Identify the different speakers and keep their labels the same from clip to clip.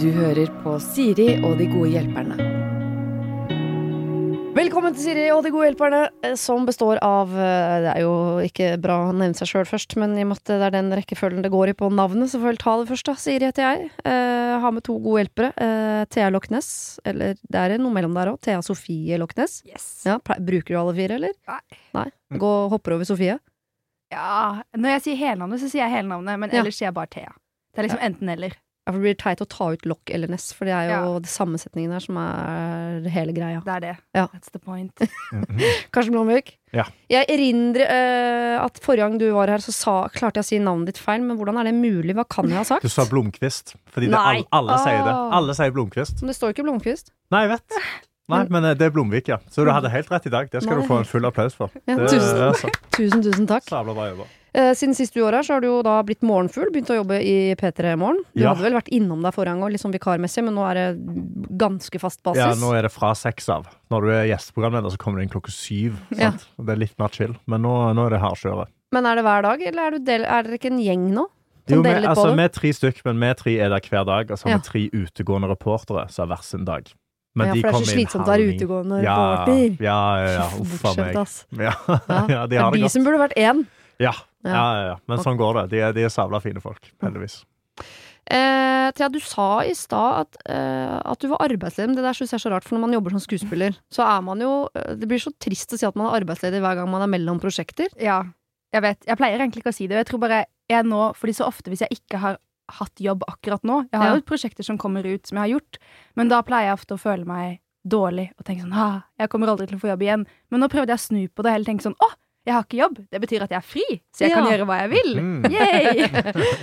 Speaker 1: Du hører på Siri og de gode hjelperne. Velkommen til Siri og de gode hjelperne, eh, som består av eh, Det er jo ikke bra å nevne seg sjøl først, men i og med at det er den rekkefølgen det går i på navnet, så får jeg vel ta det først, da. Siri heter jeg. Eh, har med to gode hjelpere. Eh, Thea Loch Ness, eller det er noe mellom der òg. Thea Sofie Loch Ness.
Speaker 2: Yes.
Speaker 1: Ja, ple- bruker du alle fire, eller?
Speaker 2: Nei.
Speaker 1: Nei? Gå, hopper over Sofie?
Speaker 2: Ja, Når jeg sier helnavnet, så sier jeg helnavnet, men
Speaker 1: Ja.
Speaker 2: ellers sier jeg bare Thea. Det er liksom enten-eller.
Speaker 1: Ja, for Det blir teit å ta ut Loch eller Ness, for det er jo det sammensetningen her som er hele greia.
Speaker 2: Det er det.
Speaker 1: Ja.
Speaker 2: That's the point.
Speaker 3: Mhm.
Speaker 1: Karsten Blomvik.
Speaker 3: Ja.
Speaker 1: Jeg erindrer eh, at forrige gang du var her, så sa, klarte jeg å si navnet ditt feil, men hvordan er det mulig? Hva kan jeg ha sagt?
Speaker 3: Du sa Blomkvist. Fordi det,
Speaker 2: Nei.
Speaker 3: alle, alle sier det.
Speaker 2: Åh.
Speaker 3: Alle sier Blomkvist.
Speaker 1: Men det står jo ikke Blomkvist.
Speaker 3: Nei, jeg vet. Nei, men eh, det er Blomvik, ja. Så du hadde helt rett i dag. Det skal
Speaker 1: Nei.
Speaker 3: du få en full applaus for.
Speaker 1: Ja,
Speaker 3: det,
Speaker 1: tusen.
Speaker 3: er så
Speaker 1: Tusen, tusen takk.
Speaker 3: sabla bra jobba.
Speaker 1: Eh, siden sist du var her, så har du jo da blitt morgenfugl, begynt å jobbe i P3 Morgen. Du
Speaker 3: Ja.
Speaker 1: hadde vel vært innom deg forrige gang òg, litt sånn vikarmessig, men nå er det ganske fast basis.
Speaker 3: Ja, nå er det fra seks av. Når du er gjesteprogramleder, så kommer du inn klokka syv.
Speaker 1: Ja.
Speaker 3: Sant? Det er litt mer chill. Men nå, nå er det hardkjøret.
Speaker 1: Men er det hver dag, eller er, du del, er dere ikke en gjeng nå? Som
Speaker 3: Jo, vi,
Speaker 1: deler litt på
Speaker 3: altså,
Speaker 1: det?
Speaker 3: vi er tre stykk, men vi tre er der hver dag. Og så har
Speaker 1: Ja.
Speaker 3: vi tre utegående reportere som har hver sin dag.
Speaker 1: ja, for det er så slitsomt å være
Speaker 3: halv ni.
Speaker 1: utegående
Speaker 3: Ja,
Speaker 1: reporter.
Speaker 3: ja, ja, ja. Uff a
Speaker 1: Bortskjemt,
Speaker 3: meg.
Speaker 1: ass.
Speaker 3: Ja,
Speaker 1: Ja.
Speaker 3: ja, de
Speaker 1: Det
Speaker 3: har
Speaker 1: er
Speaker 3: det
Speaker 1: de
Speaker 3: godt.
Speaker 1: som burde vært én.
Speaker 3: Ja,
Speaker 1: Ja.
Speaker 3: ja, ja, ja. Men sånn går det. De er, de er sabla fine folk, heldigvis.
Speaker 1: Eh, Thea, du sa i stad at, eh, at du var arbeidsledig. Men det der syns jeg er så rart, for når man jobber som skuespiller, så er man jo eh, Det blir så trist å si at man er arbeidsledig hver gang man er mellom prosjekter.
Speaker 2: Ja, jeg vet. Jeg pleier egentlig ikke å si det. Og jeg tror bare jeg nå, fordi så ofte hvis jeg ikke har hatt jobb akkurat nå Jeg har
Speaker 1: Ja.
Speaker 2: jo prosjekter som kommer ut som jeg har gjort, men da pleier jeg ofte å føle meg dårlig og tenke sånn ah, jeg kommer aldri til å få jobb igjen. Men nå prøvde jeg å snu på det og heller tenke sånn å, jeg har ikke jobb. Det betyr at jeg er fri, så jeg kan
Speaker 1: Ja.
Speaker 2: gjøre hva jeg vil.
Speaker 3: Mm.
Speaker 2: Yay!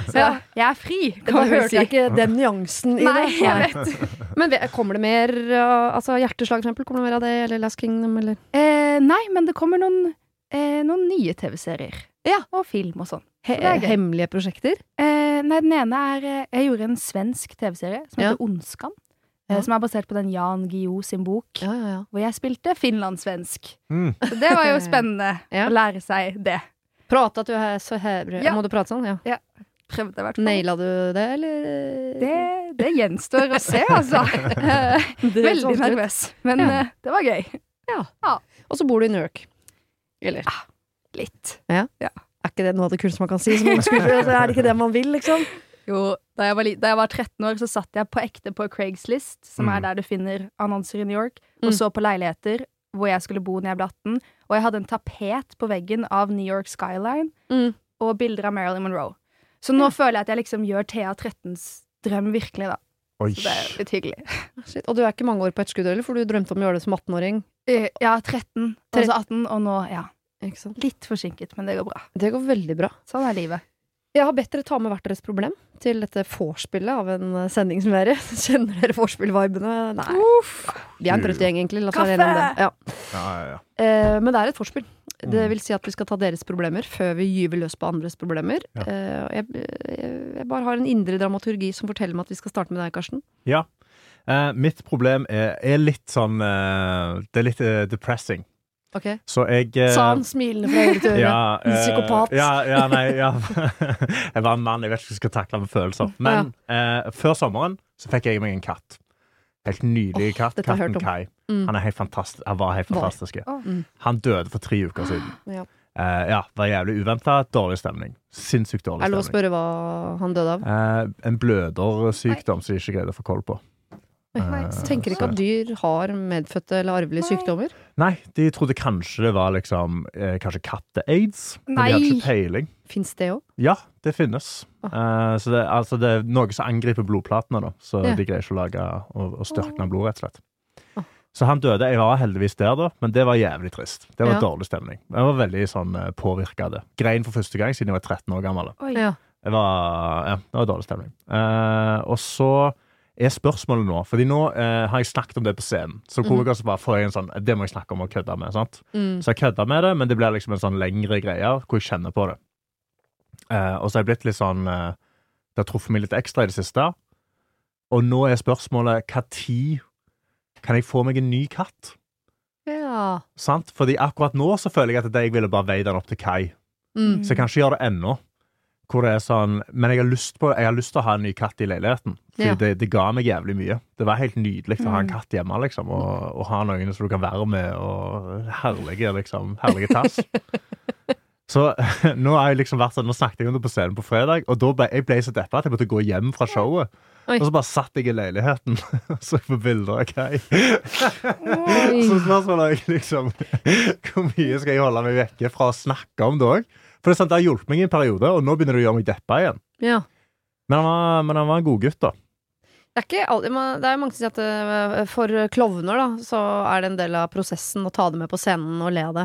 Speaker 2: Så
Speaker 1: Ja.
Speaker 2: jeg er fri,
Speaker 1: Da
Speaker 2: kan man vel
Speaker 1: hørte jeg
Speaker 2: si.
Speaker 1: ikke den nyansen i
Speaker 2: Nei,
Speaker 1: det.
Speaker 2: jeg vet.
Speaker 1: Men ve- kommer det mer eh, altså hjerteslag, for eksempel? Kommer det mer av det, eller Last Kingdom, eller
Speaker 2: Eh, nei, men det kommer noen, eh, noen nye TV-serier.
Speaker 1: Ja.
Speaker 2: Og film og sånn.
Speaker 1: he
Speaker 2: det er gøy.
Speaker 1: hemmelige prosjekter?
Speaker 2: Eh, nei, den ene er eh, Jeg gjorde en svensk TV-serie som
Speaker 1: Ja.
Speaker 2: heter Ondskan.
Speaker 1: Ja.
Speaker 2: Eh, som er basert på den Jan Guillou sin bok,
Speaker 1: Ja, ja, ja.
Speaker 2: hvor jeg spilte finlandssvensk.
Speaker 3: Mm.
Speaker 2: Så det var jo spennende
Speaker 1: Ja.
Speaker 2: å lære seg det.
Speaker 1: Prate at du er så hebre.
Speaker 2: Ja.
Speaker 1: Må du prate sånn? Ja.
Speaker 2: Prøvde jeg i hvert fall.
Speaker 1: Naila du det, eller?
Speaker 2: Det, det gjenstår å se, altså. Eh,
Speaker 1: Det sånn høres
Speaker 2: Veldig
Speaker 1: vanskelig ut.
Speaker 2: nervøs. Men
Speaker 1: Ja.
Speaker 2: eh, det var gøy.
Speaker 1: Og så bor du i New York. Eller?
Speaker 2: Litt.
Speaker 1: Er ikke det noe av det kuleste man kan si? Som skuespiller, altså, er det ikke det man vil, liksom?
Speaker 2: Jo, da jeg, var, li- da jeg var 13 år, så satt jeg på ekte på Craigslist, som er
Speaker 3: Mm.
Speaker 2: der du finner annonser i New York,
Speaker 1: Mm.
Speaker 2: og så på leiligheter hvor jeg skulle bo når jeg ble 18. Og jeg hadde en tapet på veggen av New York Skyline
Speaker 1: Mm.
Speaker 2: og bilder av Marilyn Monroe. Så nå føler jeg at jeg liksom gjør Thea 13s drøm virkelig, da.
Speaker 3: Oi.
Speaker 2: Så det er litt hyggelig.
Speaker 1: Shit. Og du er ikke mange år på ett skudd heller, for du drømte om å gjøre det som 18-åring.
Speaker 2: Eh, Ja, 13, og så 18, og nå, ja.
Speaker 1: Ikke sant?
Speaker 2: Litt forsinket, men det går bra.
Speaker 1: Det går veldig bra.
Speaker 2: Sånn er livet.
Speaker 1: Jeg har bedt dere ta med hvert deres problem til dette vorspielet av en eh, sending som er i. Kjenner dere vorspiel-vibene? Nei. Vi er en trøtt gjeng, egentlig. La oss være enige om det. Ja.
Speaker 3: Ja, ja, ja.
Speaker 1: Eh, men det er et vorspiel. Det
Speaker 3: Mm.
Speaker 1: vil si at vi skal ta deres problemer før vi gyver løs på andres problemer.
Speaker 3: Ja.
Speaker 1: Eh, og jeg, jeg- jeg bare har en indre dramaturgi som forteller meg at vi skal starte med deg, Karsten.
Speaker 3: ja. Eh, mitt problem er, er litt sånn eh, Det er litt eh, depressing.
Speaker 1: Ok?
Speaker 3: Så jeg eh,
Speaker 1: Sa han smilende fra øre til øre.
Speaker 3: ja,
Speaker 1: En
Speaker 3: eh,
Speaker 1: psykopat.
Speaker 3: Ja, ja, nei, ja. Jeg var en mann, jeg vet ikke hvordan jeg skal takle med følelser. Men eh, før sommeren så fikk jeg meg en katt. Helt nydelig katt.
Speaker 1: dette har jeg hørt om.
Speaker 3: Katten Kai.
Speaker 1: Mm.
Speaker 3: Han er helt fantastisk. Han var helt
Speaker 1: Var.
Speaker 3: fantastisk.
Speaker 2: Å.
Speaker 1: Mm.
Speaker 3: Han døde for tre uker siden.
Speaker 1: Ja.
Speaker 3: Eh, ja, var jævlig uventa. Dårlig stemning. Sinnssykt dårlig
Speaker 1: Er det lov å
Speaker 3: stemning.
Speaker 1: spørre hva han døde av?
Speaker 3: Eh, en blødersykdom som de ikke greide å få koll på.
Speaker 2: Nei,
Speaker 3: Eh,
Speaker 2: så
Speaker 1: Tenker ikke at dyr har medfødte eller arvelige
Speaker 2: Nei.
Speaker 1: sykdommer.
Speaker 3: Nei, de trodde kanskje det var liksom eh, Kanskje katte-aids. Men de hadde
Speaker 2: Nei.
Speaker 3: ikke peiling.
Speaker 1: Fins det òg?
Speaker 3: Ja, det finnes. Eh, så det, altså det er noe som angriper blodplatene, da. Så
Speaker 1: Ja.
Speaker 3: de greier ikke å lage og, og størkne blod, rett og slett. Så han døde. Jeg var heldigvis der, da, men det var jævlig trist. Det var
Speaker 1: Ja.
Speaker 3: dårlig stemning. Jeg var veldig sånn påvirka av det. Grein for første gang siden jeg var 13 år gammel. da.
Speaker 2: Oi.
Speaker 1: Ja.
Speaker 3: Det var, ja, det var dårlig stemning. Eh, og så er spørsmålet nå Fordi nå eh, har jeg snakket om det på scenen. Så
Speaker 1: Mhm.
Speaker 3: komiker så bare får jeg en sånn Det må jeg snakke om og kødde med. Sant?
Speaker 1: Mm.
Speaker 3: Så jeg kødda med det, men det blir liksom en sånn lengre greie hvor jeg kjenner på det. Eh, og så har jeg blitt litt sånn eh, Det har truffet meg litt ekstra i det siste. Og nå er spørsmålet hva tid kan jeg få meg en ny katt?
Speaker 1: ja.
Speaker 3: Sant? Fordi akkurat nå så føler jeg at det jeg ville bare veid den opp til kai.
Speaker 1: Mm.
Speaker 3: Så jeg kan ikke gjøre det ennå. Hvor det er sånn Men jeg har lyst på Jeg har lyst til å ha en ny katt i leiligheten. Fordi
Speaker 1: Ja. Mm.
Speaker 3: det, det ga meg jævlig mye. Det var helt nydelig å ha en katt hjemme, liksom. Og, og ha noen som du kan være med, og herlige, liksom. Herlige tass. Så nå har jeg liksom vært sånn Nå snakket jeg om det på scenen på fredag, og da ble jeg ble så deppa at jeg måtte gå hjem fra showet.
Speaker 1: Oi.
Speaker 3: Og så bare satt jeg i leiligheten og så på bilder av Kai.
Speaker 1: Oi.
Speaker 3: Så spørsmålet er liksom Hvor mye skal jeg holde meg vekke fra å snakke om det òg? For det er sant, det har hjulpet meg i en periode, og nå begynner det å gjøre meg deppa igjen.
Speaker 1: Ja.
Speaker 3: Men han var, men han var en god gutt, da.
Speaker 1: Det er, ikke all, man- det er mange som sier at eh, for klovner da, så er det en del av prosessen å ta det med på scenen og le av det.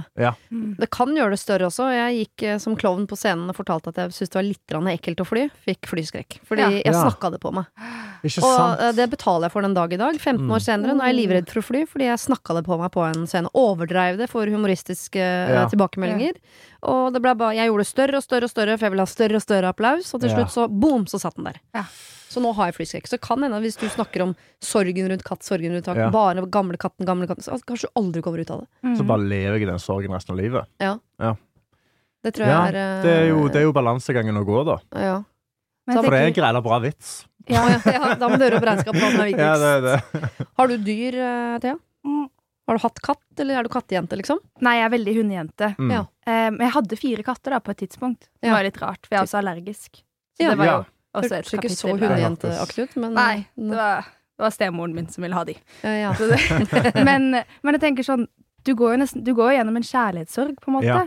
Speaker 2: Mm.
Speaker 1: Det kan gjøre det større også. Jeg gikk eh, som klovn på scenen og fortalte at jeg syntes det var litt grann ekkelt å fly. Fikk flyskrekk. Fordi
Speaker 2: Ja.
Speaker 1: jeg
Speaker 3: Ja.
Speaker 1: snakka det på meg.
Speaker 3: Ikke Mm.
Speaker 1: Og eh, det betaler jeg for den dag i dag. 15 år senere. Nå er jeg livredd for å fly fordi jeg snakka det på meg på en scene. Overdreiv det for humoristiske eh,
Speaker 3: Ja.
Speaker 1: tilbakemeldinger. Og det ble bare, jeg gjorde det større og større og større, for jeg ville ha større og større applaus. Og til
Speaker 3: Ja.
Speaker 1: slutt så boom, så satt den der.
Speaker 2: Ja.
Speaker 1: Så nå har jeg flyskrekk. Så kan hende at hvis du snakker om sorgen rundt katt, sorgen rundt katt,
Speaker 3: Ja.
Speaker 1: bare gamle katten, gamle katten, så kanskje du aldri kommer ut av det.
Speaker 2: Mm.
Speaker 3: Så bare lever jeg i den sorgen resten av livet.
Speaker 1: Det tror jeg
Speaker 3: Ja,
Speaker 1: er eh,
Speaker 3: det er jo, det er jo balansegangen å gå, da.
Speaker 1: ja.
Speaker 2: Men jeg
Speaker 1: For
Speaker 3: For det er
Speaker 2: tenker-
Speaker 3: en grei bra vits.
Speaker 1: Ja, ja, ja, da må du gjøre opp regnskap. Da, den er
Speaker 3: Ja, det
Speaker 1: viktigst.
Speaker 3: er det.
Speaker 1: Har du dyr, eh, Thea?
Speaker 2: Mm.
Speaker 1: Har du hatt katt, eller er du kattejente, liksom?
Speaker 2: Nei, jeg er veldig hundejente.
Speaker 3: Mm.
Speaker 1: Ja.
Speaker 2: Eh, Men jeg hadde fire katter da, på et tidspunkt. Det
Speaker 1: Ja.
Speaker 2: var litt rart, for jeg er også allergisk. Så
Speaker 1: Ja.
Speaker 2: det var jo
Speaker 3: Ja.
Speaker 2: også Altså et
Speaker 1: Hørtes ikke så
Speaker 2: kapittel.
Speaker 3: hund-
Speaker 1: hundejenteaktig ut, men eh,
Speaker 2: Nei, det var, det var stemoren min som ville ha de.
Speaker 1: Ja, ja.
Speaker 2: Så det- men, men jeg tenker sånn, du går jo nesten, du går jo gjennom en kjærlighetssorg, på en måte.
Speaker 3: Ja.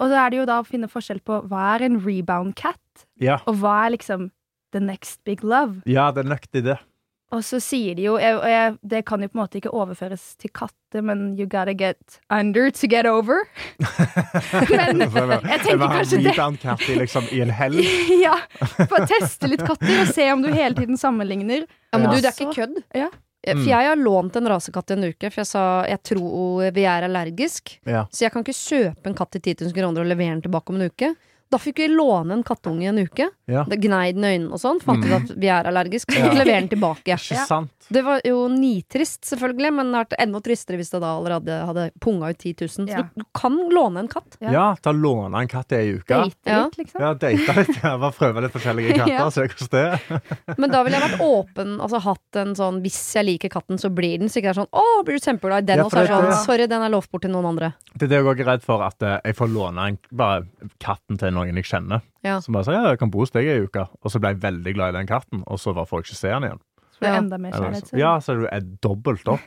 Speaker 2: Og så er det jo da å finne forskjell på hva er en rebound cat,
Speaker 3: Ja.
Speaker 2: og hva er liksom the next big love.
Speaker 3: ja, det er nøktig, det.
Speaker 2: Og så sier de jo, jeg, og jeg, det kan jo på en måte ikke overføres til katter, men you gotta get under to get over. men jeg tenker kanskje det.
Speaker 3: Rebound-Catty liksom i en helg.
Speaker 2: ja, for å teste litt katter og se om du hele tiden sammenligner.
Speaker 1: ja, men du, det er
Speaker 2: Ja.
Speaker 1: ikke kødd.
Speaker 2: Ja.
Speaker 1: For
Speaker 3: Mm.
Speaker 1: jeg har lånt en rasekatt i en uke, for jeg sa jeg tror vi er allergisk.
Speaker 3: Ja.
Speaker 1: Så jeg kan ikke kjøpe en katt til 10 000 kroner og levere den tilbake om en uke. Da fikk vi låne en kattunge en uke.
Speaker 3: Ja.
Speaker 1: Det Gnei den i øynene og sånn. Fant ut
Speaker 3: Mm.
Speaker 1: at vi er allergisk, så
Speaker 3: Ja.
Speaker 1: måtte levere den tilbake.
Speaker 3: Ikke
Speaker 2: Ja.
Speaker 3: sant?
Speaker 1: Det var jo nitrist, selvfølgelig, men det hadde vært enda tristere hvis det da allerede hadde punga ut 10 000. Så
Speaker 2: Ja.
Speaker 1: du, du kan låne en katt.
Speaker 2: Ja.
Speaker 3: Ja, ta låne en katt i ei uke.
Speaker 2: Date
Speaker 1: Ja.
Speaker 2: litt, liksom.
Speaker 3: Ja, date litt. Ja, bare prøve litt forskjellige katter.
Speaker 2: Ja.
Speaker 3: Se hvordan det er.
Speaker 1: Men da ville jeg vært åpen, altså hatt en sånn 'hvis jeg liker katten, så blir den'. Så ikke det er sånn 'å, blir du kjempeglad i den',
Speaker 3: Ja,
Speaker 1: og
Speaker 3: for
Speaker 1: så er det
Speaker 3: det-
Speaker 1: sånn
Speaker 2: det-
Speaker 1: 'sorry, den er lovt bort til noen andre'.
Speaker 3: Det er det jeg også er redd for, at eh, jeg får låne en, bare katten til noen jeg kjenner.
Speaker 1: Ja.
Speaker 3: Som bare sier ja, 'jeg kan bo hos deg ei uke', og så ble jeg veldig glad i den katten, og så bare får jeg ikke se den igjen.
Speaker 2: Så det er
Speaker 1: Ja.
Speaker 2: enda mer
Speaker 3: Eller
Speaker 2: kjærlighet.
Speaker 3: så- Ja, så du er dobbelt opp.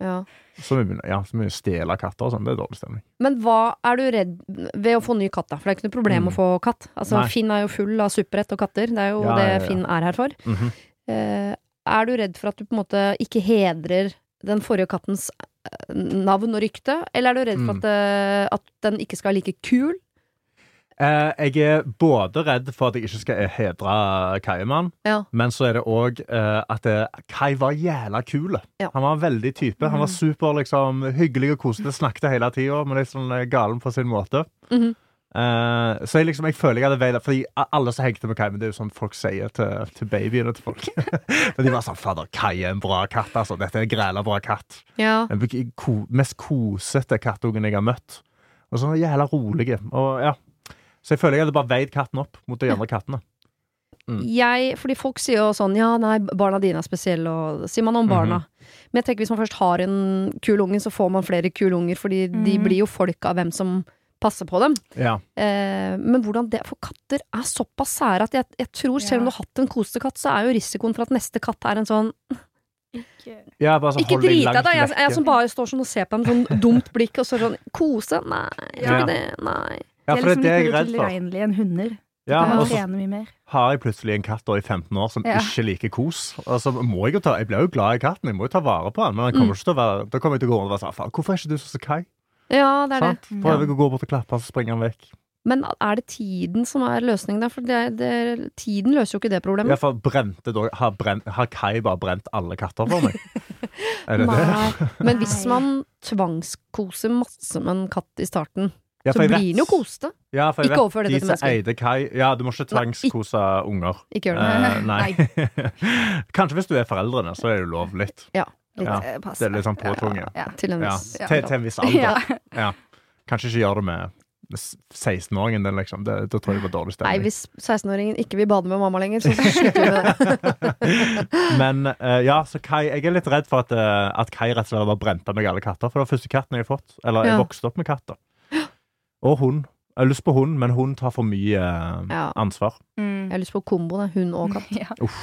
Speaker 1: Ja.
Speaker 3: Så mye ja, så mye stjele katter og sånn. Det er dårlig stemning.
Speaker 1: Men hva er du redd ved å få ny katt, da? For det er ikke noe problem
Speaker 3: Mm.
Speaker 1: å få katt. Altså,
Speaker 3: Nei.
Speaker 1: Finn er jo full av superhett og katter. Det er jo
Speaker 3: Ja,
Speaker 1: det
Speaker 3: ja, ja.
Speaker 1: Finn er her for.
Speaker 3: Mhm.
Speaker 1: Eh, er du redd for at du på en måte ikke hedrer den forrige kattens eh, navn og rykte? Eller er du redd for at,
Speaker 3: Mm.
Speaker 1: eh, at den ikke skal være like kul?
Speaker 3: Eh, jeg er både redd for at jeg ikke skal hedre Kaiman,
Speaker 1: Ja.
Speaker 3: men så er det òg eh, at eh, Kai var jævla kul.
Speaker 1: Ja. Mhm.
Speaker 3: Han var veldig type. Han var super liksom, hyggelig og koselig, snakket hele tida, men litt sånn eh, galen på sin måte.
Speaker 1: Mhm.
Speaker 3: Eh, så jeg, liksom, jeg føler jeg hadde veid Fordi a- alle som hengte med Kai, men det er jo sånn folk sier til, til babyene til folk. men de var sånn 'Fader, Kai er en bra katt, altså. Dette er en græla bra katt.'
Speaker 1: Ja.
Speaker 3: Den bek- ko mest kosete kattungen jeg har møtt. Og sånn jævla rolig. Og, ja. Så jeg føler jeg hadde bare veid katten opp mot de andre kattene. Mm.
Speaker 1: jeg, fordi folk sier jo sånn Ja, nei, barna dine er spesielle, og sier man om barna.
Speaker 3: Mhm.
Speaker 1: Men jeg tenker hvis man først har en kul unge, så får man flere kule unger, fordi de
Speaker 2: Mhm.
Speaker 1: blir jo folk av hvem som passer på dem.
Speaker 3: Ja.
Speaker 1: Eh, men hvordan det For katter er såpass sære at jeg, jeg tror, selv om du
Speaker 2: Ja.
Speaker 1: har hatt en kosete katt, så er jo risikoen for at neste katt er en sånn
Speaker 3: Ja, bare sånn,
Speaker 1: Ikke
Speaker 3: hold deg
Speaker 1: drit deg,
Speaker 3: langt
Speaker 1: da! Jeg, jeg
Speaker 3: vekke.
Speaker 1: som bare står sånn og ser på dem med sånn dumt blikk, og så sånn Kose? Nei, jeg tror
Speaker 3: Ja.
Speaker 1: ikke det. Nei.
Speaker 3: Ja,
Speaker 2: De
Speaker 3: for
Speaker 1: liksom
Speaker 3: det er det jeg
Speaker 2: liksom litt mer
Speaker 3: er redd for.
Speaker 2: utilregnelige enn hunder.
Speaker 3: Ja,
Speaker 2: kan
Speaker 3: og
Speaker 2: man
Speaker 3: så
Speaker 2: trene mye mer.
Speaker 3: har jeg plutselig en katt da i 15 år som
Speaker 2: Ja.
Speaker 3: ikke liker kos. Og så må Jeg jo ta, jeg blir jo glad i katten, jeg må jo ta vare på den, men han kommer
Speaker 1: Mm.
Speaker 3: ikke til å være, da kommer jeg til å gå rundt og være sånn «Faen, Hvorfor er ikke du sånn som Kai?
Speaker 1: Ja, det er det.
Speaker 3: Sant? Prøver jeg å gå bort og klappe, så springer han vekk.
Speaker 1: Men er det tiden som er løsningen der? For det, er- det, er- tiden løser jo ikke det problemet.
Speaker 3: I hvert fall brente da, har, brent, har Kai bare brent alle katter for meg? Er det det?
Speaker 1: Nei. Men hvis
Speaker 2: Nei.
Speaker 1: man tvangskoser masse med en katt i starten,
Speaker 3: Ja,
Speaker 1: så
Speaker 3: for jeg
Speaker 1: blir
Speaker 3: vet-
Speaker 1: den jo koste.
Speaker 3: Ja, for jeg
Speaker 1: Ikke
Speaker 3: vet,
Speaker 1: overfør dette
Speaker 3: de
Speaker 1: til
Speaker 3: som
Speaker 1: mennesker.
Speaker 3: eide Kai Ja, du må ikke
Speaker 1: Nei, ikke-
Speaker 3: tvangskose unger.
Speaker 1: Ikke gjør det.
Speaker 3: Eh, nei. Kanskje hvis du er foreldrene, så er det lov litt.
Speaker 2: Litt,
Speaker 3: Ja,
Speaker 2: eh, pass.
Speaker 3: Det er litt sånn påtvunget.
Speaker 2: Ja.
Speaker 1: Til en
Speaker 3: Ja.
Speaker 1: viss
Speaker 3: Til, til en viss alder.
Speaker 2: Ja.
Speaker 3: Kanskje ikke gjør det med 16-åringen den, liksom. Det, da tror jeg det var
Speaker 1: Nei,
Speaker 3: dårlig stemning.
Speaker 1: hvis 16-åringen ikke vil bade med mamma lenger, så slutter vi med det.
Speaker 3: Men eh, ja, så Kai, jeg er litt redd for at, eh, at Kai rett og slett bare brente meg alle katter. For det var første katten jeg har fått. Eller jeg
Speaker 1: Ja.
Speaker 3: vokste opp med katter. Og hund. Jeg har lyst på hund, men hund tar for mye eh,
Speaker 1: Ja.
Speaker 3: ansvar.
Speaker 1: Jeg har lyst på kombo, da. Hund og katt.
Speaker 2: Mm.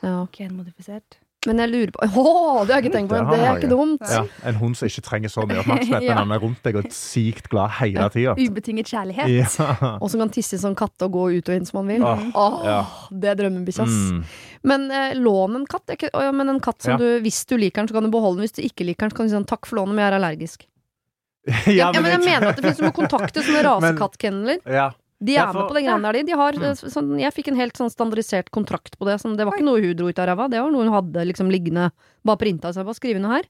Speaker 2: Ja.
Speaker 1: Ja.
Speaker 2: Genmodifisert.
Speaker 1: Men jeg lurer på Åh, det har jeg ikke tenkt på!
Speaker 3: Det har
Speaker 1: Det er
Speaker 3: jeg.
Speaker 1: ikke dumt.
Speaker 3: Ja, en hund som ikke trenger så mye oppmerksomhet,
Speaker 2: Ja.
Speaker 3: men han er rundt deg og sykt glad hele tida.
Speaker 2: Ubetinget kjærlighet.
Speaker 3: Ja.
Speaker 1: Og som kan tisse som katt og gå ut og inn som han vil.
Speaker 3: Åh,
Speaker 1: Åh,
Speaker 3: ja.
Speaker 1: Det er drømmebikkja, ass.
Speaker 3: Mm.
Speaker 1: Men eh, lån en katt. det er Ikke, å, ja, men en katt som
Speaker 3: Ja.
Speaker 1: du, Hvis du liker den, så kan du beholde den. Hvis du ikke liker den, så kan du si sånn 'takk for lånet, men jeg er allergisk'. Ja, men, jeg mener at det finnes Du må kontakte sånne
Speaker 3: Men-
Speaker 1: rasekattkenneler.
Speaker 3: ja.
Speaker 1: De er
Speaker 3: Ja, for- Mm.
Speaker 1: med på den greia der, de. de har, eh, sånn, jeg fikk en helt sånn standardisert kontrakt på det. Sånn, det var ikke noe hun dro ut av ræva, det var noe hun hadde liksom liggende. Bare printa seg på. Skrive noe her.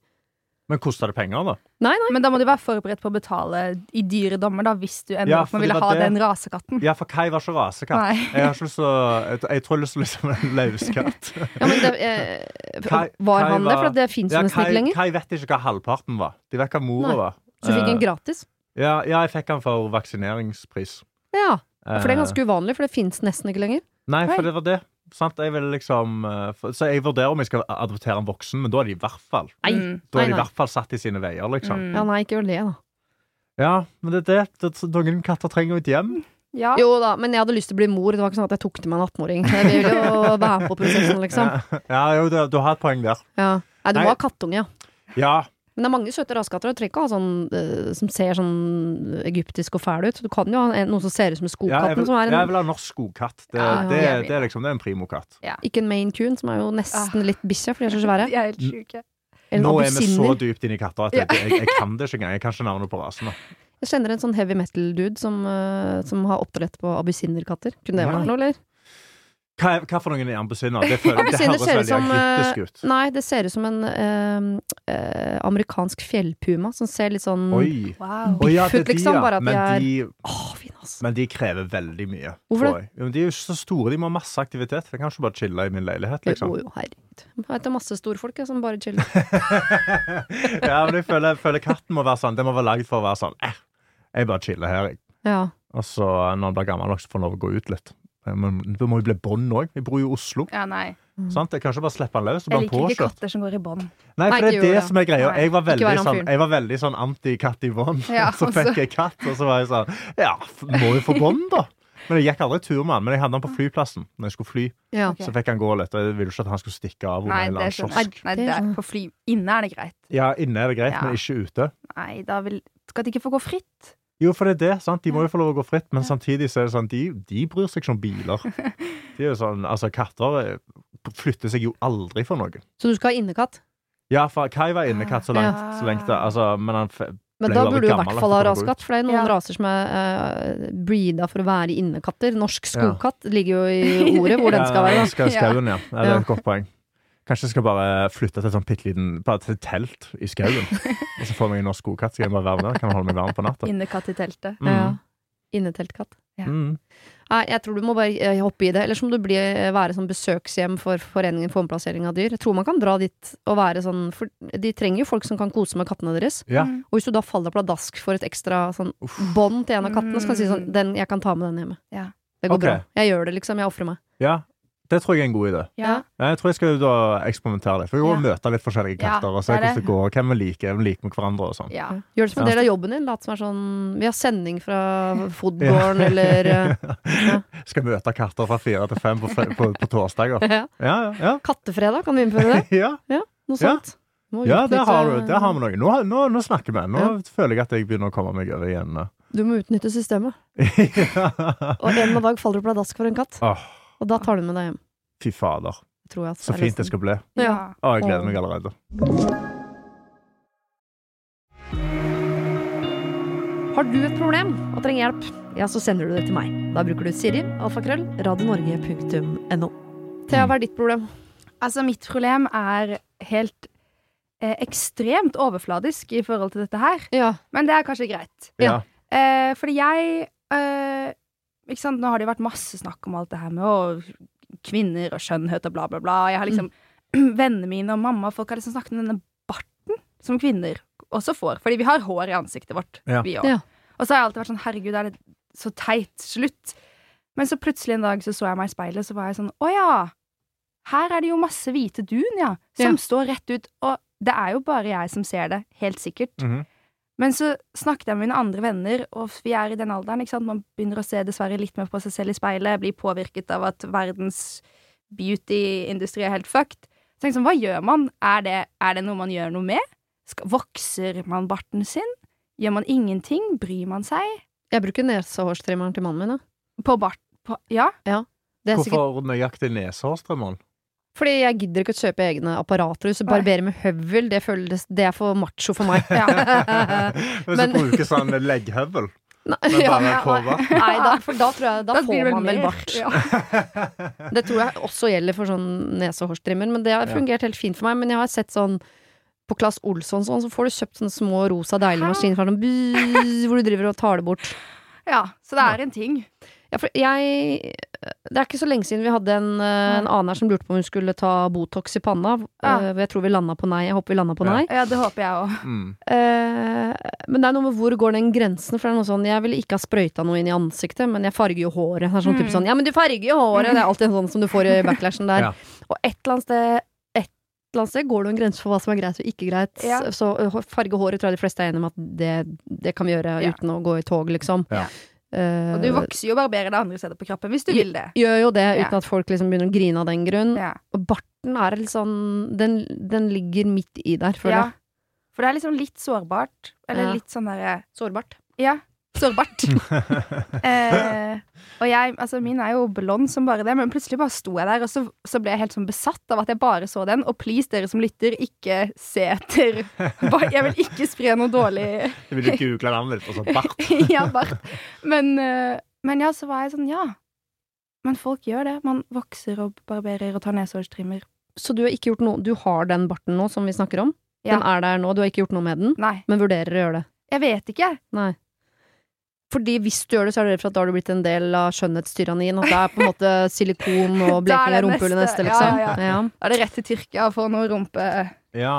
Speaker 3: Men kosta det penger, da?
Speaker 2: Men da må du være forberedt på å betale i dyre dommer, da, hvis du ender
Speaker 3: Ja,
Speaker 2: opp med å
Speaker 3: fordi
Speaker 2: ville
Speaker 3: det
Speaker 2: ha
Speaker 3: var det.
Speaker 2: den rasekatten.
Speaker 3: Ja, for Kai var ikke rasekatt.
Speaker 2: Nei.
Speaker 3: Jeg har ikke lyst til å Jeg, jeg tror jeg har lyst til liksom en løskatt.
Speaker 1: Ja, men det, eh,
Speaker 3: Kai-
Speaker 1: var
Speaker 3: Kai
Speaker 1: han det?
Speaker 3: var-
Speaker 1: For det fins jo
Speaker 3: Ja,
Speaker 1: nesten
Speaker 3: Kai,
Speaker 1: ikke lenger.
Speaker 3: Kai vet ikke hva halvparten var. De vet hva mora
Speaker 1: Nei.
Speaker 3: var.
Speaker 1: Så fikk han
Speaker 3: Eh,
Speaker 1: gratis.
Speaker 3: ja, ja, jeg fikk han for vaksineringspris.
Speaker 1: Ja,
Speaker 3: Eh,
Speaker 1: For det er ganske uvanlig, for det fins nesten ikke lenger.
Speaker 3: Nei,
Speaker 2: Nei.
Speaker 3: for det var det. Sant? Jeg vil liksom eh, for, Så jeg vurderer om jeg skal adoptere en voksen, men da er de i hvert fall
Speaker 1: Nei,
Speaker 2: Mm.
Speaker 3: Da
Speaker 1: nei,
Speaker 3: er de
Speaker 1: nei.
Speaker 3: i
Speaker 1: Mm.
Speaker 3: hvert fall satt i sine veier, liksom.
Speaker 1: Ja, nei, ikke gjør det, da.
Speaker 3: Ja, men det er det. det noen katter trenger jo et hjem.
Speaker 2: Ja.
Speaker 1: Jo da, men jeg hadde lyst til å bli mor. Det var ikke sånn at jeg tok til meg en 18-åring. Jeg ville jo være med på prosessen, liksom.
Speaker 3: Ja, jo, du, du har et poeng der.
Speaker 1: Ja. Nei, du
Speaker 3: Nei.
Speaker 1: må ha kattunge, ja.
Speaker 3: Ja.
Speaker 1: Men det er mange søte raskatter. og Du trenger ikke ha sånn eh, som ser sånn egyptisk og fæl ut. Du kan jo ha en, noen som ser ut som en
Speaker 3: ja
Speaker 1: skogkatten,
Speaker 3: jeg, vil,
Speaker 1: som er
Speaker 3: jeg
Speaker 1: en,
Speaker 3: vil ha norsk skogkatt. Det,
Speaker 2: Ja,
Speaker 3: det,
Speaker 2: jeg vil.
Speaker 3: det er liksom det er en primokatt.
Speaker 1: ikke en Maine Coon, som er jo
Speaker 2: Ah.
Speaker 1: nesten litt bikkje, for de er så svære.
Speaker 2: De er
Speaker 3: Mm.
Speaker 2: helt sjuke.
Speaker 1: Eller
Speaker 3: Nå
Speaker 1: en sånn
Speaker 3: er vi så
Speaker 1: appelsiner.
Speaker 3: dypt inn i katter at jeg, jeg, jeg kan det ikke engang. Jeg kan ikke navnet på rasene.
Speaker 1: Jeg kjenner en sånn heavy metal-dude som, eh, som har oppdrett på abisinerkatter. Kunne det
Speaker 3: Nei.
Speaker 1: vært noe, eller?
Speaker 3: Hva, er- hva for noen er ambisiner? Det, føler, det
Speaker 1: Ambusiner
Speaker 3: høres
Speaker 1: ser ut
Speaker 3: veldig
Speaker 1: som, eh,
Speaker 3: egyptisk ut.
Speaker 1: Nei, det ser ut som en eh, eh, amerikansk fjellpuma som ser litt sånn
Speaker 3: Oi.
Speaker 2: Wow.
Speaker 3: Å ja,
Speaker 1: Biffut,
Speaker 3: det er de,
Speaker 1: liksom, bare
Speaker 3: ja.
Speaker 1: at de
Speaker 3: Men
Speaker 1: er-
Speaker 3: de,
Speaker 1: Å, fin, ass.
Speaker 3: men de krever veldig mye.
Speaker 1: Hvorfor
Speaker 3: tror jeg. Jo, men De er jo ikke så store. De må ha masse aktivitet. Jeg kan ikke bare chille i min leilighet, liksom.
Speaker 1: Jo, jo, herregud. Jeg vet om masse storfolk jeg, som bare chiller.
Speaker 3: ja, men jeg føler, jeg føler katten må være sånn. Den må være lagd for å være sånn eh, Jeg bare chiller her, jeg.
Speaker 1: Ja.
Speaker 3: Og så når han blir gammel nok, så får han lov å gå ut litt. Eh, Men det må jo bli bånd òg. Vi bor jo i Oslo.
Speaker 2: Ja, nei.
Speaker 3: Sant? Jeg kan ikke bare slippe han løs.
Speaker 2: Jeg
Speaker 3: og bare
Speaker 2: liker ikke
Speaker 3: påkjørt.
Speaker 2: katter som går i bånd.
Speaker 3: Nei,
Speaker 1: Nei,
Speaker 3: for det
Speaker 1: ikke
Speaker 3: er det
Speaker 1: gjør det.
Speaker 3: som er greia.
Speaker 2: Nei.
Speaker 3: Jeg var veldig
Speaker 1: Ikke vær han
Speaker 3: sånn,
Speaker 1: fyren.
Speaker 3: jeg var veldig sånn anti-katt i bånd.
Speaker 2: Ja,
Speaker 3: så
Speaker 2: og så-
Speaker 3: fikk jeg katt, og så var jeg sånn Ja, f- må jo få bånd, da. Men jeg gikk aldri tur med han. Men jeg hadde han på flyplassen når jeg skulle fly.
Speaker 1: ja.
Speaker 2: Ok.
Speaker 3: Så fikk han gå litt. Og jeg ville ikke at han skulle stikke av. under
Speaker 2: Nei,
Speaker 3: en eller
Speaker 2: det
Speaker 3: annen
Speaker 2: skjønner
Speaker 3: kiosk.
Speaker 2: jeg. Nei, det er på fly. Inne er det greit.
Speaker 3: Ja, inne er det greit,
Speaker 2: Ja.
Speaker 3: men ikke ute.
Speaker 2: Nei, da vil Skal de ikke få gå fritt?
Speaker 3: Jo, for det er det. sant? De må jo få lov å gå fritt, men samtidig så er det sånn, de, de bryr seg ikke om biler. De er jo sånn, altså Katter eh, flytter seg jo aldri for noen.
Speaker 1: Så du skal ha innekatt?
Speaker 3: Ja, for Kai var innekatt så langt, så lenge det, altså, men han f-
Speaker 1: Men da
Speaker 3: Ble jo aldri
Speaker 1: burde du i
Speaker 3: gammel
Speaker 1: hvert
Speaker 3: nok
Speaker 1: fall ha
Speaker 3: til å gå
Speaker 1: rasekatt, for det er noen
Speaker 2: Ja.
Speaker 1: raser som er eh, breeda for å være innekatter. Norsk
Speaker 3: Ja.
Speaker 1: skogkatt ligger jo i ordet hvor den skal være.
Speaker 3: Ja,
Speaker 1: da.
Speaker 3: den skal i skauen, ja. ja. Det
Speaker 1: Ja.
Speaker 3: er et godt poeng. Kanskje jeg skal bare flytte til et sånn bitte liten Bare til et telt i skauen. Og så får jeg meg en norsk godkatt, så kan jeg bare være med der. Kan holde meg varm på natta.
Speaker 2: Innekatt i teltet.
Speaker 1: Ja.
Speaker 3: Mm.
Speaker 1: Inneteltkatt.
Speaker 3: Mm.
Speaker 1: Nei, jeg tror du må bare eh, hoppe i det. Eller så må du bli, være sånn besøkshjem for Foreningen for omplassering av dyr. Jeg tror man kan dra dit og være sånn For de trenger jo folk som kan kose med kattene deres.
Speaker 3: Ja.
Speaker 2: Mm.
Speaker 1: Og hvis du da faller pladask for et ekstra sånn,
Speaker 3: Uff.
Speaker 1: bånd til en av kattene, så kan du si sånn
Speaker 2: Mm.
Speaker 1: den, 'Jeg kan ta med den hjemme'.
Speaker 2: Ja.
Speaker 1: Det går
Speaker 3: Ok.
Speaker 1: bra. Jeg gjør det, liksom. Jeg ofrer meg.
Speaker 3: ja. Det tror jeg er en god idé.
Speaker 2: Ja.
Speaker 3: Ja, Jeg tror jeg skal ut og eksperimentere litt. For jeg går og møte litt forskjellige
Speaker 2: Ja,
Speaker 3: katter og se
Speaker 2: det er
Speaker 3: hvordan det går. Hvem vi liker, hvem vi liker med hverandre og sånn.
Speaker 2: ja.
Speaker 1: Gjør det som en
Speaker 3: Ja.
Speaker 1: del av jobben din. Lat som er sånn Vi har sending fra Fodgården, eller eh,
Speaker 3: Skal møte katter fra fire til fem på, fre- på, på torsdager.
Speaker 1: ja.
Speaker 3: Ja, ja,
Speaker 1: Kattefredag, kan vi innføre det?
Speaker 3: ja. ja.
Speaker 1: Noe
Speaker 3: Ja.
Speaker 1: sånt. Må
Speaker 3: ja der,
Speaker 1: utnytte-
Speaker 3: har du, der har vi noe. Nå, nå, nå snakker vi. Nå føler jeg at jeg begynner å komme meg over igjen.
Speaker 1: Du må utnytte systemet.
Speaker 3: ja.
Speaker 1: Og en dag faller du pladask for en katt,
Speaker 3: Åh,
Speaker 1: og da tar du med deg hjem.
Speaker 3: fy fader.
Speaker 1: Tror jeg, at
Speaker 3: Så
Speaker 1: er
Speaker 3: fint det
Speaker 1: løsningen.
Speaker 3: skal bli.
Speaker 2: ja.
Speaker 1: Ja.
Speaker 3: Å, jeg gleder
Speaker 1: Åh.
Speaker 3: meg allerede.
Speaker 1: Har du et problem og trenger hjelp, ja, så sender du det til meg. Da bruker du Siri, alfakrøll, radionorge.no. Thea, hva er ditt problem?
Speaker 2: Altså, mitt problem er helt eh, ekstremt overfladisk i forhold til dette her.
Speaker 1: Ja.
Speaker 2: Men det er kanskje greit.
Speaker 1: Ja.
Speaker 3: Ja.
Speaker 2: Eh, fordi jeg eh, ikke sant? Nå har det jo vært masse snakk om alt det her med å, kvinner og skjønnhet og bla, bla, bla. Jeg har liksom Vennene mine og mamma og folk har liksom snakket om denne barten som kvinner også får. Fordi vi har hår i ansiktet vårt,
Speaker 3: Ja.
Speaker 2: vi
Speaker 1: Ja.
Speaker 2: òg. Og så har jeg alltid vært sånn herregud, er det så teit? Slutt. Men så plutselig en dag så, så jeg meg i speilet, så var jeg sånn å ja, her er det jo masse hvite dun, ja, som
Speaker 1: Ja.
Speaker 2: står rett ut. Og det er jo bare jeg som ser det, helt sikkert.
Speaker 3: Mhm.
Speaker 2: Men så snakket jeg med mine andre venner, og vi er i den alderen. ikke sant? Man begynner å se dessverre litt mer på seg selv i speilet, blir påvirket av at verdens beauty-industri er helt fucked. Så tenkte jeg sånn, Hva gjør man? Er det, er det noe man gjør noe med? Skal, vokser man barten sin? Gjør man ingenting? Bryr man seg?
Speaker 1: Jeg bruker nesehårstrimmeren til mannen min, da.
Speaker 2: På bart... På, ja?
Speaker 1: Det er sikkert,
Speaker 3: Hvorfor nøyaktig nesehårstrømmeren?
Speaker 1: fordi jeg gidder ikke å kjøpe egne apparater. Hvis du
Speaker 2: Nei.
Speaker 1: barberer med høvel, det, føles, det er for macho for meg.
Speaker 2: ja.
Speaker 3: Hvis
Speaker 1: Men-
Speaker 3: du bruker sånn legghøvel
Speaker 1: Nei,
Speaker 3: med
Speaker 1: ja.
Speaker 3: bare kåver.
Speaker 1: Nei da, for da tror jeg Da,
Speaker 2: Da blir
Speaker 1: får
Speaker 2: det
Speaker 1: man vel
Speaker 2: mer,
Speaker 1: bart.
Speaker 2: ja.
Speaker 1: Det tror jeg også gjelder for sånn nese- og hårstrimmer, men det har
Speaker 3: Ja.
Speaker 1: fungert helt fint for meg. Men jeg har sett sånn på Claes Olsson sånn, så får du kjøpt sånne små rosa deilige
Speaker 2: Hæ?
Speaker 1: maskiner fra sånn bzzz, hvor du driver og tar det bort.
Speaker 2: ja. Så det er en ting.
Speaker 1: Ja, for jeg Det er ikke så lenge siden vi hadde en, eh, en annen her som lurte på om hun skulle ta Botox i panna.
Speaker 2: Ja.
Speaker 1: Eh, Jeg tror vi landa på nei. Jeg håper vi landa på
Speaker 3: Ja.
Speaker 1: nei.
Speaker 2: Ja, det håper jeg òg.
Speaker 3: Mm.
Speaker 1: Eh, men det er noe med hvor går den grensen? For det er noe sånn, Jeg ville ikke ha sprøyta noe inn i ansiktet, men jeg farger jo håret. Det er sånn type
Speaker 2: Mm.
Speaker 1: sånn, Ja, men du farger jo håret! Det er alltid sånn som du får i backlashen der.
Speaker 3: Ja.
Speaker 1: Og et eller annet sted et eller annet sted går det jo en grense for hva som er greit og ikke greit.
Speaker 2: Ja.
Speaker 1: Så ø, farge håret tror jeg de fleste er enige om at det, det kan vi gjøre
Speaker 2: Ja.
Speaker 1: uten å gå i tog, liksom.
Speaker 3: Ja.
Speaker 1: Eh,
Speaker 2: Og du vokser jo og barberer deg andre steder på kroppen hvis du vil det.
Speaker 1: gjør jo det
Speaker 2: Ja.
Speaker 1: uten at folk liksom begynner å grine av den grunn.
Speaker 2: Ja.
Speaker 1: Og barten er litt sånn Den, den ligger midt i der, føler
Speaker 2: Ja.
Speaker 1: jeg.
Speaker 2: For det er liksom litt sårbart. Eller
Speaker 1: Ja.
Speaker 2: litt sånn derre
Speaker 1: Sårbart.
Speaker 2: Ja, sårbart. eh, og jeg, altså min er jo blond som bare det, men plutselig bare sto jeg der, og så, så ble jeg helt sånn besatt av at jeg bare så den. Og please, dere som lytter, ikke se etter. Bare- Jeg vil ikke spre noe dårlig
Speaker 3: Jeg vil jo google navnet ditt, og så bart.
Speaker 2: ja, bart. Men, eh, men ja, så var jeg sånn, ja. Men folk gjør det. Man vokser og barberer og tar nesehårstrimmer.
Speaker 1: Så du har ikke gjort noe Du har den barten nå som vi snakker om?
Speaker 2: Ja.
Speaker 1: Den er der nå, du har ikke gjort noe med den,
Speaker 2: Nei,
Speaker 1: men vurderer å gjøre det?
Speaker 2: jeg vet ikke.
Speaker 1: Nei. Fordi hvis du gjør det, så er du redd for at da har du blitt en del av skjønnhetstyrannien. At det er på en måte silikon og
Speaker 2: Da er
Speaker 1: bleking av
Speaker 2: det
Speaker 1: rumpehullet neste,
Speaker 2: neste.
Speaker 1: liksom.
Speaker 2: Ja,
Speaker 1: Ja,
Speaker 2: Da er det rett til Tyrkia for noe rumpe...
Speaker 3: Ja.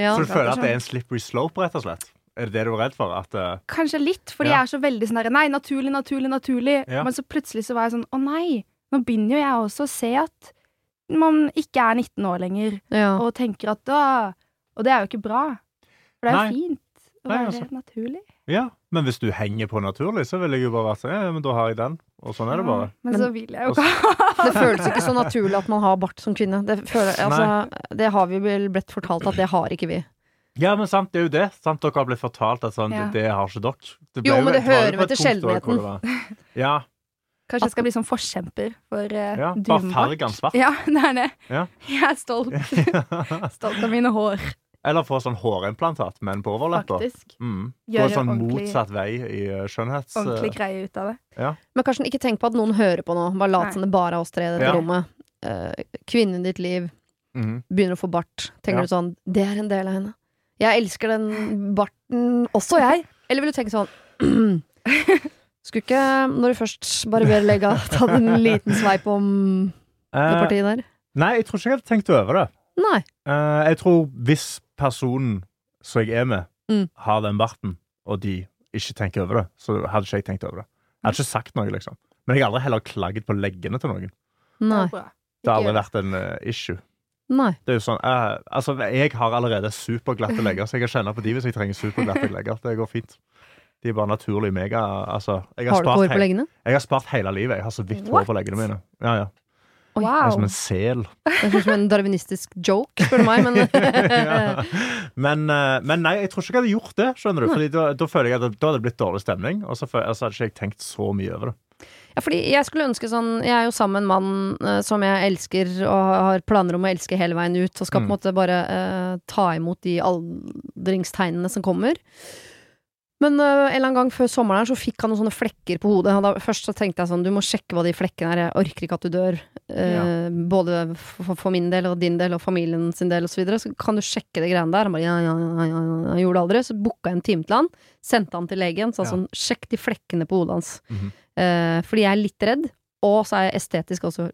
Speaker 1: ja.
Speaker 3: Så du føler at det er en slippery slope, rett og slett? Er det det du er redd for? At eh,
Speaker 2: Kanskje litt, fordi
Speaker 3: Ja.
Speaker 2: jeg er så veldig sånn der, Nei, naturlig, naturlig, naturlig.
Speaker 3: Ja.
Speaker 2: Men så plutselig så var jeg sånn Å nei, nå begynner jo jeg også å se at man ikke er 19 år lenger,
Speaker 1: Ja.
Speaker 2: og tenker at da Og det er jo ikke bra. For det er
Speaker 3: Nei.
Speaker 2: jo fint å
Speaker 3: Nei,
Speaker 2: være
Speaker 3: altså.
Speaker 2: naturlig.
Speaker 3: Ja, men hvis du henger på naturlig, så ville jeg jo bare vært sånn Ja, men da har jeg den. Og sånn er det bare.
Speaker 2: Men, så vil jeg jo
Speaker 3: Og så-
Speaker 2: ikke ha
Speaker 1: Det føles ikke så naturlig at man har bart som kvinne. Det, føler, altså, det har vi vel blitt fortalt at det har ikke vi.
Speaker 3: Ja, men sant, det er jo det. Sant, dere har blitt fortalt at sånn,
Speaker 2: Ja.
Speaker 3: det, det har ikke dere. ble
Speaker 1: Jo, men det
Speaker 3: et- var jo
Speaker 1: hører
Speaker 3: på
Speaker 1: med
Speaker 3: et
Speaker 1: til
Speaker 3: punkt da, hvor det var- Ja,
Speaker 2: Kanskje jeg skal bli sånn forkjemper for uh,
Speaker 3: ja. Bare farg den svart.
Speaker 2: Ja, det er det.
Speaker 3: Ja.
Speaker 2: Jeg er stolt. stolt av mine hår,
Speaker 3: Eller få sånn hårimplantat, men på overleppa.
Speaker 2: faktisk.
Speaker 3: Mm. Gå
Speaker 2: Gjøre
Speaker 3: sånn
Speaker 2: ordentlig-
Speaker 3: motsatt vei i eh, skjønnhets...
Speaker 2: Ordentlig greie ut av det.
Speaker 1: Men Karsten, ikke tenk på at noen hører på nå. Bare
Speaker 2: Nei.
Speaker 1: lat som det bare er oss tre i dette
Speaker 3: Ja.
Speaker 1: rommet. Eh, kvinnen i ditt liv
Speaker 3: Mhm.
Speaker 1: begynner å få bart. Tenker
Speaker 3: Ja.
Speaker 1: du sånn Det er en del av henne. Jeg elsker den barten også, jeg. Eller vil du tenke sånn Skulle ikke, når du først barberer legga, ta en liten sveip om det
Speaker 3: Eh,
Speaker 1: partiet der?
Speaker 3: nei, jeg tror ikke jeg hadde tenkt over det.
Speaker 1: Nei.
Speaker 3: Eh, jeg tror hvis personen som jeg er med,
Speaker 1: Mm.
Speaker 3: har den barten, og de ikke tenker over det, så hadde ikke jeg tenkt over det. Jeg hadde ikke sagt noe, liksom. Men jeg har aldri heller klaget på leggene til noen.
Speaker 2: Det
Speaker 1: Nei.
Speaker 2: er bra.
Speaker 3: Det har aldri
Speaker 2: Ikke-
Speaker 3: vært en eh, issue.
Speaker 1: Nei.
Speaker 3: Det er jo sånn, eh, altså, jeg har allerede superglatte legger, så jeg kan kjenne på de hvis jeg trenger superglatte legger. Det går fint. De er bare naturlig mega altså, jeg,
Speaker 1: Har du ikke
Speaker 3: har spart
Speaker 1: hår på
Speaker 3: hei-
Speaker 1: leggene?
Speaker 3: jeg har spart hele livet. Jeg har så vidt hår
Speaker 2: What?
Speaker 3: på leggene mine. Ja, ja.
Speaker 1: Oi.
Speaker 3: Jeg er
Speaker 2: Wow.
Speaker 3: som en sel.
Speaker 1: Det høres ut som en darwinistisk joke, spør du meg, men
Speaker 3: ja. men, eh, men nei, jeg tror ikke jeg hadde gjort det. skjønner du? Fordi da, da føler jeg at det, da hadde det blitt dårlig stemning. Og så fø- altså, hadde ikke jeg tenkt så mye over det.
Speaker 1: Ja, fordi jeg skulle ønske sånn Jeg er jo sammen med en mann eh, som jeg elsker og har planer om å elske hele veien ut, og skal på
Speaker 3: Mm.
Speaker 1: en måte bare eh, ta imot de aldringstegnene som kommer. Men eh, en eller annen gang før sommeren her så fikk han noen sånne flekker på hodet. Og da, først så tenkte jeg sånn, du må sjekke hva de flekkene er, jeg orker ikke at du dør. Eh, Både for, for min del og din del og familien sin del osv. Så, videre. så kan du sjekke de greiene der. Han bare ja, ja, ja, ja, ja. Han gjorde det aldri. Så booka jeg en time til han, sendte han til legen, sa
Speaker 3: Ja.
Speaker 1: sånn, sjekk de flekkene på hodet hans.
Speaker 3: Mhm.
Speaker 1: Eh, fordi jeg er litt redd, og så er jeg estetisk også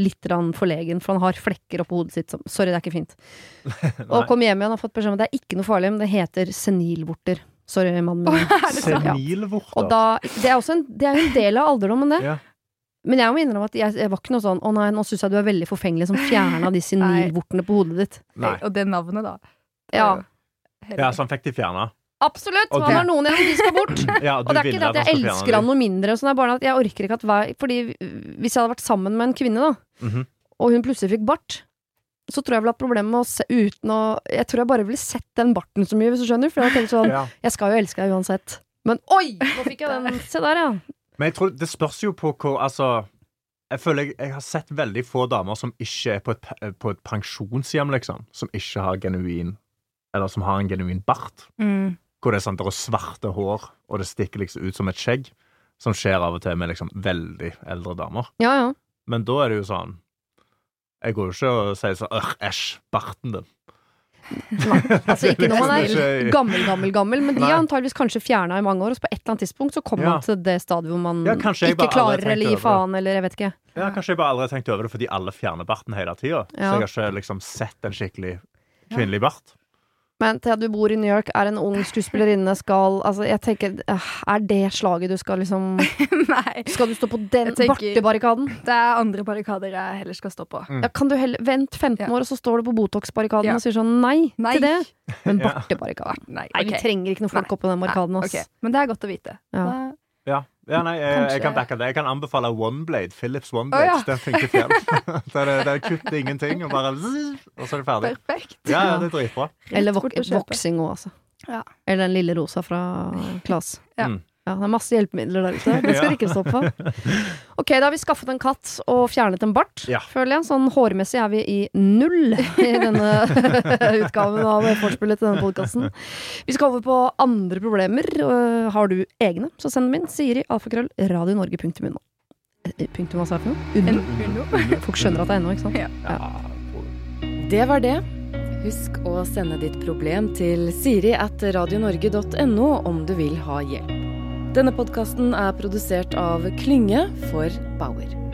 Speaker 1: litt grann forlegen, for han har flekker oppå hodet sitt som Sorry, det er ikke fint.
Speaker 3: Nei.
Speaker 1: Og kom hjem igjen og fått beskjed om at det er ikke noe farlig, men det heter senilvorter. Sorry, mannen min.
Speaker 2: Er det sant?
Speaker 1: Ja. Og
Speaker 3: Senilvorter.
Speaker 1: da, det er også en, det er jo en del av alderdommen, det.
Speaker 3: Ja.
Speaker 1: Men jeg må innrømme at jeg, jeg var ikke noe sånn 'Å nei, nå syns jeg du er veldig forfengelig som fjerna de senilvortene på hodet ditt'.
Speaker 3: Nei.
Speaker 2: Og det navnet, da. Det er
Speaker 1: Ja,
Speaker 2: jo helt-
Speaker 3: Ja, altså. så han fikk de fjerna.
Speaker 1: absolutt!
Speaker 3: Og
Speaker 1: Han
Speaker 3: du-
Speaker 1: har noen igjen, de skal bort.
Speaker 3: Ja,
Speaker 1: Og det er ikke det at jeg elsker han noe mindre, og sånn, det er bare at jeg orker ikke at hver Fordi hvis jeg hadde vært sammen med en kvinne, da,
Speaker 3: Mhm.
Speaker 1: og hun plutselig fikk bart, så tror jeg vel at problemet med å se uten å Jeg tror jeg bare ville sett den barten så mye, hvis du skjønner. For jeg hadde tenkt sånn
Speaker 3: Ja.
Speaker 1: Jeg skal jo elske deg uansett. Men oi! Nå fikk jeg den. Se der, ja.
Speaker 3: Men jeg tror det spørs jo på hvor Altså, jeg føler jeg, jeg har sett veldig få damer som ikke er på et, pe- på et pensjonshjem, liksom. Som ikke har genuin Eller som har en genuin bart.
Speaker 2: Mm.
Speaker 3: Hvor det er sånn, det er svarte hår, og det stikker liksom ut som et skjegg. Som skjer av og til med liksom veldig eldre damer.
Speaker 1: Ja, ja.
Speaker 3: Men da er det jo sånn Jeg går jo ikke og sier sånn «Ør, Æsj, barten din.
Speaker 1: Altså ikke når man er
Speaker 3: Ikke-
Speaker 1: gammel, gammel, gammel, men de
Speaker 3: Nei.
Speaker 1: er antageligvis kanskje fjerna i mange år, og så på et eller annet tidspunkt så kommer
Speaker 3: Ja.
Speaker 1: man til det stadiet hvor man
Speaker 3: Ja, kanskje jeg
Speaker 1: ikke
Speaker 3: bare aldri
Speaker 1: klarer eller
Speaker 3: tenkte
Speaker 1: gir
Speaker 3: over
Speaker 1: faen, eller jeg vet ikke.
Speaker 3: Ja, Kanskje jeg bare aldri har tenkt over det fordi alle fjerner barten hele tida.
Speaker 1: Ja.
Speaker 3: Så jeg har ikke liksom sett en skikkelig kvinnelig bart.
Speaker 1: Men til at du bor i New York, er en ung skuespillerinne, skal Altså, jeg tenker eh, Er det slaget du skal liksom
Speaker 2: Nei.
Speaker 1: Skal du stå på den
Speaker 2: Jeg tenker-
Speaker 1: bartebarrikaden?
Speaker 2: Det er andre barrikader jeg heller skal stå på.
Speaker 1: Ja, kan du heller Vent 15
Speaker 2: Ja.
Speaker 1: år, og så står du på Botox-barrikaden
Speaker 2: Ja.
Speaker 1: og sier sånn nei,
Speaker 2: Nei.
Speaker 1: til det. Men
Speaker 3: Ja.
Speaker 1: bartebarrikaden
Speaker 2: Nei,
Speaker 1: Nei, vi
Speaker 2: ok.
Speaker 1: trenger ikke noe folk
Speaker 2: Nei.
Speaker 1: oppå den barrikaden,
Speaker 2: Nei,
Speaker 1: ass.
Speaker 2: ok. Men det er godt å vite.
Speaker 1: Ja.
Speaker 2: Da-
Speaker 3: Ja, ja nei, jeg, jeg
Speaker 1: Kanskje-
Speaker 3: kan backe det. Jeg kan anbefale OneBlade. Philips OneBlade.
Speaker 2: Å, ja.
Speaker 3: Den funker fjell. Der, er- der kutter ingenting, og bare zzz, Og så er det ferdig.
Speaker 2: Perfekt.
Speaker 3: Ja, ja, det er dritbra.
Speaker 2: Rett
Speaker 1: Eller
Speaker 2: bort og
Speaker 1: vok
Speaker 2: kjøpe.
Speaker 1: voksing òg, altså.
Speaker 2: Ja.
Speaker 1: Eller den lille rosa fra Klas.
Speaker 2: Ja.
Speaker 3: Mm.
Speaker 1: Ja, det er masse hjelpemidler der ute. Det skal
Speaker 3: Ja.
Speaker 1: det ikke stå på. Ok, da har vi skaffet en katt og fjernet en bart,
Speaker 3: Ja.
Speaker 1: føler jeg. Sånn hårmessig er vi i null i denne utgaven av Forspillet til denne podkasten. Vi skal over på andre problemer. Øh, Har du egne, så send dem inn. Siri, alfakrøll, radionorge.no. Eh, Punktum hva sa jeg for noe?
Speaker 2: En
Speaker 1: Undo.
Speaker 2: Uno.
Speaker 1: Folk skjønner at det er ennå, ikke sant?
Speaker 2: Ja.
Speaker 4: Det var det. Husk å sende ditt problem til siri at radionorge.no om du vil ha hjelp. Denne podkasten er produsert av Klynge for Bauer.